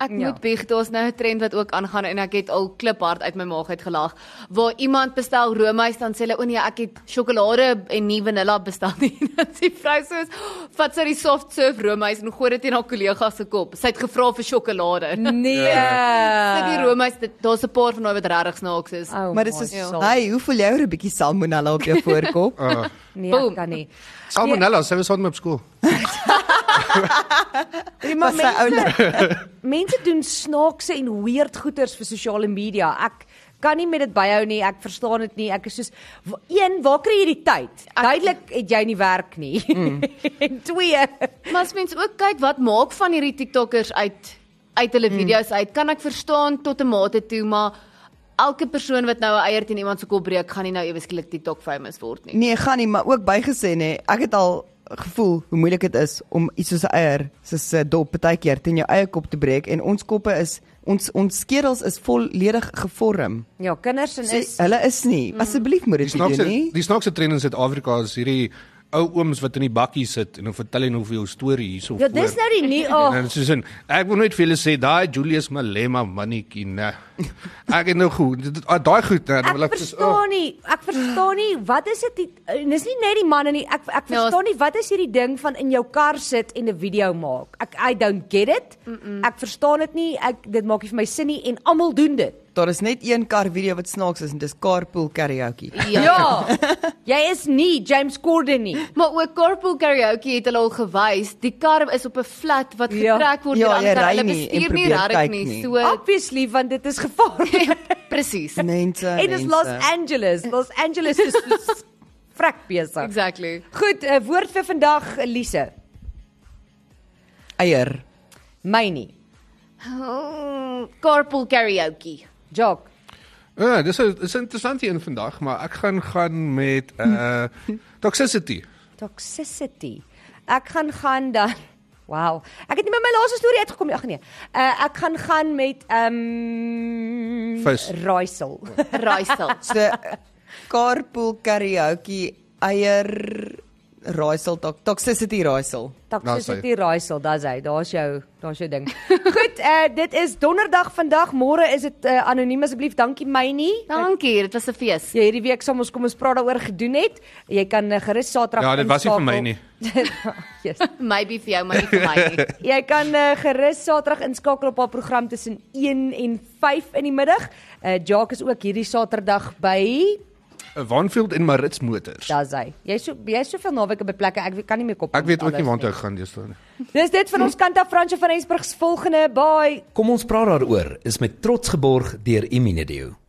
E: Ek
B: Ja.
E: moet bieg, daar's nou 'n trend wat ook aangaan en ek het al kliphard uit my maag uitgelag waar iemand bestel roomys dan sê hulle o nee, ek het sjokolade en nie vanilla bestel nie. Dan sê die vrou soos vat sy die soft serve roomys en gooi dit teen haar kollega se kop. Sy het gevra vir sjokolade. Nee.
B: nee.
E: Sit die roomys, dit- daar's 'n paar van daai wat regtig snaaks is.
B: Oh
D: Maar dis
B: my
D: is
B: soul.
D: hy, hoe voel jy oor 'n bietjie salmonella nou op jou voorkop?
C: Oh.
B: nee,
E: Boom.
B: ek kan nie.
C: Salmonella, sy was aan my op skool.
B: Die
D: Was sy oulik?
B: mense doen snaakse en weird goeters vir sosiale media. Ek kan nie met dit byhou nie. Ek verstaan dit nie. Ek is soos wa- een, waar kry jy die tyd? Duidelik het jy nie werk nie.
C: Mm.
B: en twee,
E: Maar as mens ook kyk wat maak van hierdie TikTokkers uit uit hulle
D: Hmm.
E: video's uit, kan ek verstaan tot 'n mate toe, maar elke persoon wat nou 'n eier teen iemand se kop breek, gaan nie nou ewe skielik TikTok famous word nie.
D: Nee, gaan nie, maar ook bygesê nê. Ek het al gevoel hoe moeilik dit is om iets soos 'n eier se se dop baie keer teen jou eie kop te breek en ons koppe is ons ons skedels is volledig gevorm.
B: ja, kinders en
D: So,
B: is
C: eh,
B: Mm.
D: hulle is nie. Asseblief moet
C: Die
D: dit nie
C: snaakse
D: doen nie.
C: die snaakse trend in Suid-Afrika is hierdie ou ooms wat in die bakkie sit en dan vertel en hoeveel storie hierso
B: Ja, dis nou die nie. Oh,
C: En dit is 'n ek wil nooit vir julle sê daai Julius Malema mannetjie nê. Ek het nou goed. dit- ah, Daai goed nê, dan wil
B: Ek
C: ek soos, oh,
B: verstaan nie. Ek verstaan nie wat is dit die- en dis nie net die manne nie. Ek ek
E: Ja,
B: verstaan nie wat is hierdie ding van in jou kar sit en 'n video maak. Ek I don't get it. Ek verstaan dit nie. Ek dit maak nie vir my sin nie en almal doen dit.
D: Daar is net een kar video wat snaaks is en dis carpool karaoke.
B: Ja. ja. Jy is nie James Corden nie.
E: Maar ook carpool karaoke het hulle al gewys. Die kar is op 'n flat wat
B: Ja.
E: getrek word
D: Ja,
E: deur
D: jy
E: ander karre.
D: ry
E: Hulle
D: nie en
E: bestuur nie
D: probeer
E: regtig
D: kyk
E: nie.
D: nie. Ah.
E: So
B: Obviously want dit is
E: Ja.
B: gevaarlik.
E: presies.
D: Mense.
B: en dis
D: mense.
B: Los Angeles. Los Angeles is soos vrek besig.
E: Exactly.
B: Goed, 'n woord vir vandag, Elise.
D: eier.
B: My nie.
E: Oh, carpool karaoke.
B: Jock.
C: ja, dis 'n dis 'n interessante een vandag, maar ek gaan gaan met uh toxicity.
B: Toxicity. Ek gaan gaan dan Wow. Ek het nie met my laaste storie uitgekom nie. Ag nee. Uh, ek gaan gaan met ehm um,
C: Vis.
B: raaisel.
E: Raaisel.
D: So carpool karaoke eier raaisel tak toxicity raaisel.
C: Nou,
B: Toxicity raaisel, dis hy. Daar's jou, daar's jou ding. Goed, uh, dit is donderdag vandag. Môre is dit uh, anoniem asseblief. Dankie my nie.
E: Dankie, dit was 'n fees.
D: Ja.
B: Jy hierdie week saam ons kom ons praat daaroor gedoen het. Jy kan uh, gerus Saterdag
C: Ja, dit was nie vir my
B: inskakel.
C: nie.
B: yes.
E: Maybe vir jou, maar nie vir my nie.
B: Jy kan uh, gerus Saterdag inskakel op haar program tussen 1 en 5 in die middag. Uh Jacques is ook hierdie Saterdag by
C: Wanfield eh, en Maritz Motors.
B: Dazai. Jy so jy's soveel naweke by plekke, ek weet- kan nie meer kop.
C: Ek weet ook nie waar toe ek gaan deesdae nie.
B: Dis dit van ons kant af Fransjo van Rensburg se volgende. Bye.
F: Kom ons praat daaroor is met trots geborg deur Imine Dio.